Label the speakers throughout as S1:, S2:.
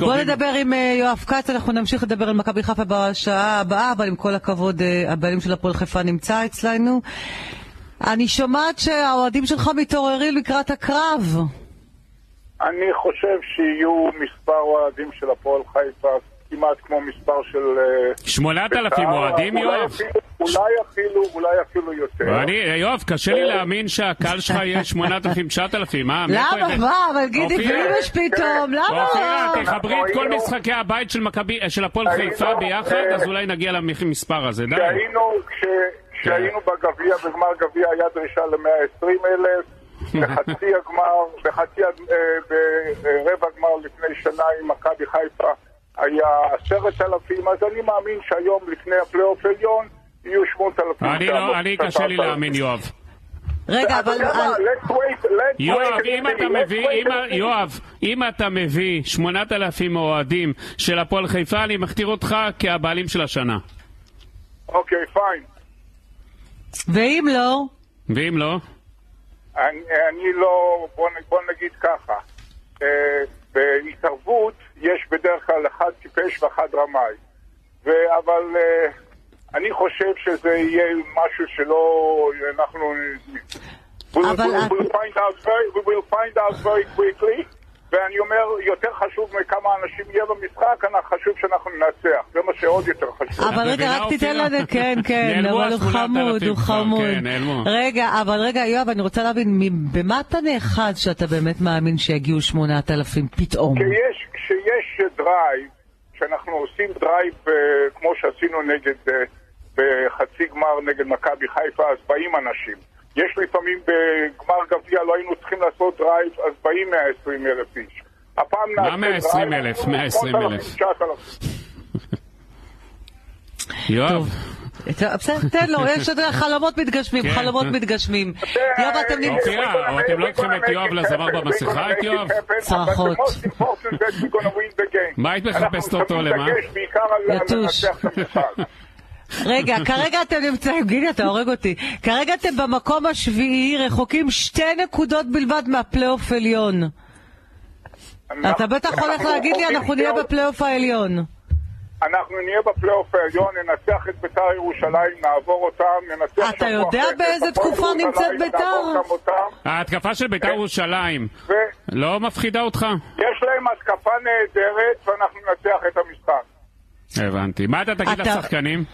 S1: בוא נדבר עם אה, יואב כץ, אנחנו נמשיך לדבר על מכבי חיפה בשעה הבאה, אבל עם כל הכבוד, אה, הבעלים של הפועל חיפה נמצא אצלנו. אני שומעת שהאוהדים שלך מתעוררים לקראת הקרב.
S2: אני חושב שיהיו מספר אוהדים של הפועל חיפה כמעט כמו מספר של... אה,
S3: 8,000 אוהדים, יואב?
S2: אולי אפילו, אולי אפילו יותר.
S3: אני, יואב, קשה לי להאמין שהקהל שלך יהיה 8,000, 9,000, מה?
S1: למה? לא, מה? אבל גידי
S3: אופיר,
S1: גריבש פתאום, למה?
S3: אופירה, תחברי את כל משחקי הבית של מכבי- של הפועל
S2: היינו,
S3: חיפה ביחד,
S2: אה,
S3: אז אולי נגיע למספר הזה, די.
S2: כשהיינו, כש- כשהיינו
S3: כן.
S2: בגביע, בגמר גביע היה דרישה ל-120 אלף, בחצי הגמר, בחצי, הג- אה, ברבע גמר לפני שנה עם מכבי חיפה היה עשרת אלפים, אז אני מאמין שהיום לפני הפלייאוף העליון יהיו שמות אלפים.
S3: אני לא, אני קשה לי להאמין, יואב.
S1: רגע, אבל...
S3: יואב, אם אתה מביא, אם ה- יואב, אם אתה מביא 8,000 אוהדים של הפועל חיפה, אני מכתיר אותך כהבעלים של השנה.
S2: אוקיי, פיין.
S1: ואם לא?
S3: ואם לא?
S2: אני, אני לא, בוא, נ- בוא נגיד ככה, אה, בהתערבות יש בדרך כלל אחד טיפש ואחד רמאי, ו, אבל אה, אני חושב שזה יהיה משהו שלא, אנחנו... We will,
S1: אבל
S2: we
S1: את-
S2: will find out very, we will find out very quickly, ואני אומר, יותר חשוב מכמה אנשים יהיה במשחק, אנחנו- חשוב שאנחנו ננצח, זה מה שעוד יותר חשוב.
S1: אבל רגע,
S3: את מבינה,
S1: רק תיתן
S3: אופירה?
S1: לנו, כן, כן,
S3: נעלמו
S1: אבל הוא
S3: ה- 8,000
S1: חמוד, הוא
S3: כבר,
S1: חמוד.
S3: כן, נעלמו.
S1: רגע, אבל רגע, יואב, אני רוצה להבין, מ- במה אתה נאחז שאתה באמת מאמין שיגיעו 8,000 פתאום?
S2: כשיש, כשיש דרייב, כשאנחנו עושים דרייב אה, כמו שעשינו נגד, אה, בחצי גמר נגד מכבי חיפה, אז באים אנשים. יש לפעמים בגמר גביע, לא היינו צריכים לעשות דרייב, אז באים 120 אלף איש. הפעם נעשה דרייב...
S3: 120,000? 120,000.
S2: 9,000.
S3: יואב.
S1: טוב. טוב, בסדר, תן לו, יש עוד חלומות מתגשמים,
S3: כן.
S1: חלומות מתגשמים. יואב, אתם
S2: אוקיי.
S1: נמצאים...
S3: אופירה, או אתם לא לוקחים את יואב לזמר במסכה, את יואב?
S1: צרחות.
S3: מה היית מחפשת אותו, למה?
S1: יתוש. רגע, כרגע אתם נמצאים, גילי, אתה הורג אותי. כרגע אתם במקום השביעי, רחוקים שתי נקודות בלבד מהפלייאוף עליון.
S2: לא.
S1: אתה בטח הולך להגיד לי, אנחנו נהיה בפלייאוף העליון.
S2: אנחנו נהיה בפלייאוף העליון, ננצח את בית"ר ירושלים, נעבור אותם, ננצח...
S1: אתה
S2: שבוע
S1: יודע
S2: אחרי זה
S1: באיזה
S2: את
S1: תקופה
S2: הפועל ירושלים,
S1: נמצאת בית"ר?
S2: נעבור גם אותם,
S3: ההתקפה של בית"ר ירושלים
S2: ויש
S3: לא מפחידה אותך?
S2: להם התקפה נהדרת, ואנחנו ננצח את המשחק.
S3: הבנתי. מה אתה תגיד
S1: אתה-
S3: לשחקנים?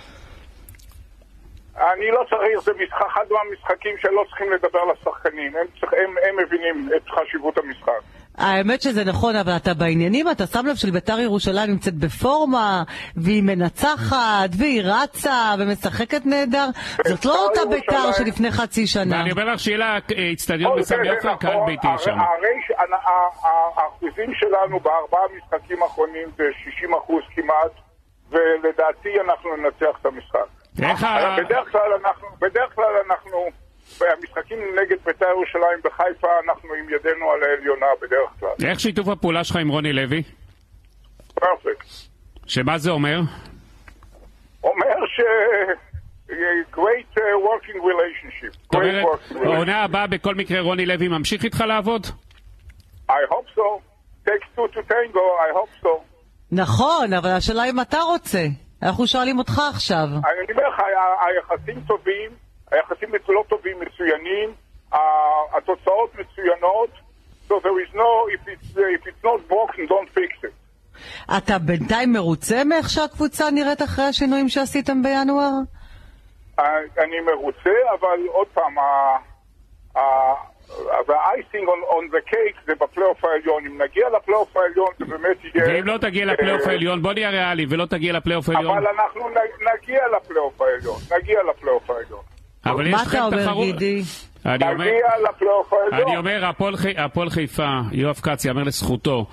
S2: אני לא צריך, זה משחק, אחד מהמשחקים שלא צריכים לדבר לשחקנים. הם, צריך, הם, הם מבינים את חשיבות המשחק.
S1: האמת שזה נכון, אבל אתה בעניינים, אתה שם לב שלביתר ירושלים נמצאת בפורמה, והיא מנצחת, והיא רצה, ומשחקת נהדר. זאת לא אותה ביתר שלפני חצי שנה.
S3: ואני אומר לך שאלה, אה, איצטדיון
S2: כל זה
S3: כן, בסמי
S2: זה
S3: עופר, קהל
S2: אוקיי, נכון,
S3: ביתי
S2: הר-
S3: שם.
S2: הרי ש- ה- ה- ה- האחוזים שלנו בארבעה המשחקים האחרונים זה 60 אחוז כמעט, ולדעתי אנחנו ננצח את המשחק.
S3: איך ה...
S2: אבל אה, בדרך כלל אנחנו, בדרך כלל אנחנו, במשחקים נגד בית"ר ירושלים בחיפה, אנחנו עם ידינו על העליונה בדרך כלל.
S3: איך שיתוף הפעולה שלך עם רוני לוי?
S2: פרפקט.
S3: שמה זה אומר?
S2: אומר ש... great uh, working relationship.
S3: זאת
S2: Great
S3: אומרת,
S2: working relationship.
S3: העונה הבאה בכל מקרה רוני לוי ממשיך איתך לעבוד?
S2: כן. I hope so. Takes two to tango, I hope so.
S1: נכון, אבל השאלה אם אתה רוצה. אנחנו שואלים אותך עכשיו.
S2: אני אומר לך, ה- היחסים טובים, היחסים לא טובים מצוינים, ה- התוצאות מצוינות, so there is no, if it's, if it's not broken, don't fix it.
S1: אתה בינתיים מרוצה מאיך שהקבוצה נראית אחרי השינויים שעשיתם בינואר?
S2: אני- אני מרוצה, אבל עוד פעם, ה- ה- וה-icing on, on the cake זה בפלייאוף העליון. אם נגיע לפלייאוף העליון זה באמת יהיה...
S3: ואם לא תגיע לפלייאוף
S2: אה,
S3: העליון, בוא נהיה ריאלי, ולא תגיע לפלייאוף העליון.
S2: אבל אנחנו נ- נגיע לפלייאוף העליון, נגיע לפלייאוף העליון.
S3: אבל יש
S1: מה
S3: לכם
S1: אתה אומר,
S3: תחרות.
S1: גידי?
S3: אני אומר,
S2: נגיע לפלייאוף העליון.
S3: אני אומר, הפועל חי- הפועל חיפה, יואב כץ, יאמר לזכותו,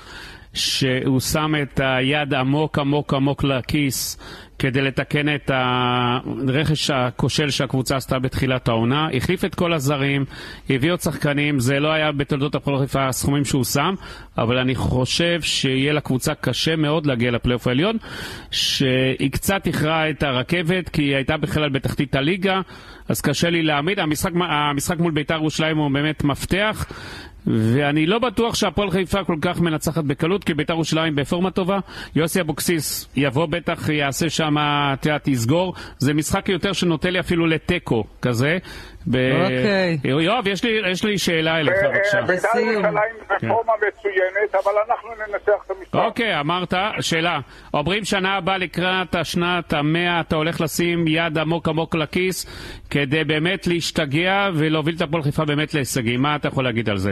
S3: שהוא שם את היד עמוק עמוק עמוק לכיס כדי לתקן את הרכש הכושל שהקבוצה עשתה בתחילת העונה. החליף את כל הזרים, הביא עוד שחקנים, זה לא היה בתולדות הפועל חיפה הסכומים שהוא שם, אבל אני חושב שיהיה לקבוצה קשה מאוד להגיע לפלייאוף העליון, שהיא קצת איחרה את הרכבת, כי היא הייתה בכלל בתחתית הליגה, אז קשה לי להעמיד. המשחק, המשחק מול בית"ר ירושלים הוא באמת מפתח. ואני לא בטוח שהפועל חיפה כל כך מנצחת בקלות, כי ביתר ירושלים בפורמה טובה. יוסי אבוקסיס יבוא בטח, יעשה שם, את יודעת, יסגור. זה משחק יותר שנוטה לי אפילו לתיקו כזה. ב-
S1: אוקיי.
S3: יואב, יש לי, יש לי שאלה אליך,
S2: אה,
S3: בבקשה.
S2: אה, בית"ר
S1: לסיום.
S2: ירושלים בפורמה מצוינת, אבל אנחנו ננצח את המשחק.
S3: אוקיי, אמרת, שאלה. אומרים שנה הבאה לקראת השנת המאה אתה הולך לשים יד עמוק עמוק לכיס כדי באמת להשתגע ולהוביל את הפועל חיפה באמת להישגים. מה אתה יכול להגיד על זה?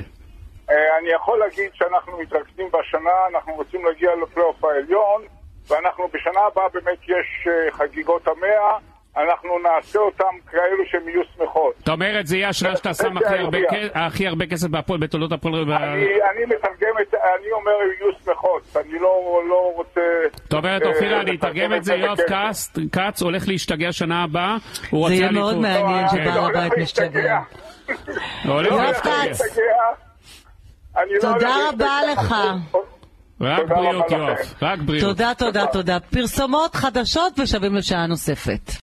S2: אה, אני יכול להגיד שאנחנו מתרכזים בשנה, אנחנו רוצים להגיע לפלייאוף העליון, ואנחנו בשנה הבאה באמת יש אה, חגיגות המאה, אנחנו נעשה אותם כאלו שהן יהיו שמחות.
S3: זאת אומרת, זה יהיה השנה שאתה שם הכי הרבה כ- הכי הרבה כסף בהפועל, בתולדות הפועל...
S2: אני, אני מתרגם את, אני אומר יהיו שמחות, אני לא, לא רוצה...
S3: זאת אומרת,
S2: אה,
S3: אופירה, אני
S2: לתרגם
S3: אתרגם את זה, יואב
S2: בכסף.
S3: כץ- כץ הולך להשתגע שנה הבאה. הוא
S1: זה
S3: רוצה
S1: יהיה מאוד
S3: אליפות.
S1: מעניין. מעניין
S2: לא, אני
S1: שבהר
S2: הולך
S1: הבית
S2: להשתגע.
S1: משתגע.
S3: הוא כן. הולך
S1: יואב
S3: להשתגע.
S1: כץ.
S2: להשתגע. אני לא
S1: תודה
S2: הולך
S1: רבה
S2: להשתגע.
S3: רק
S2: לא, תודה רבה
S3: בריאות,
S2: לכם.
S3: יואב. רק בריאות.
S1: תודה, תודה, תודה. פרסומות חדשות ושבים לשעה נוספת.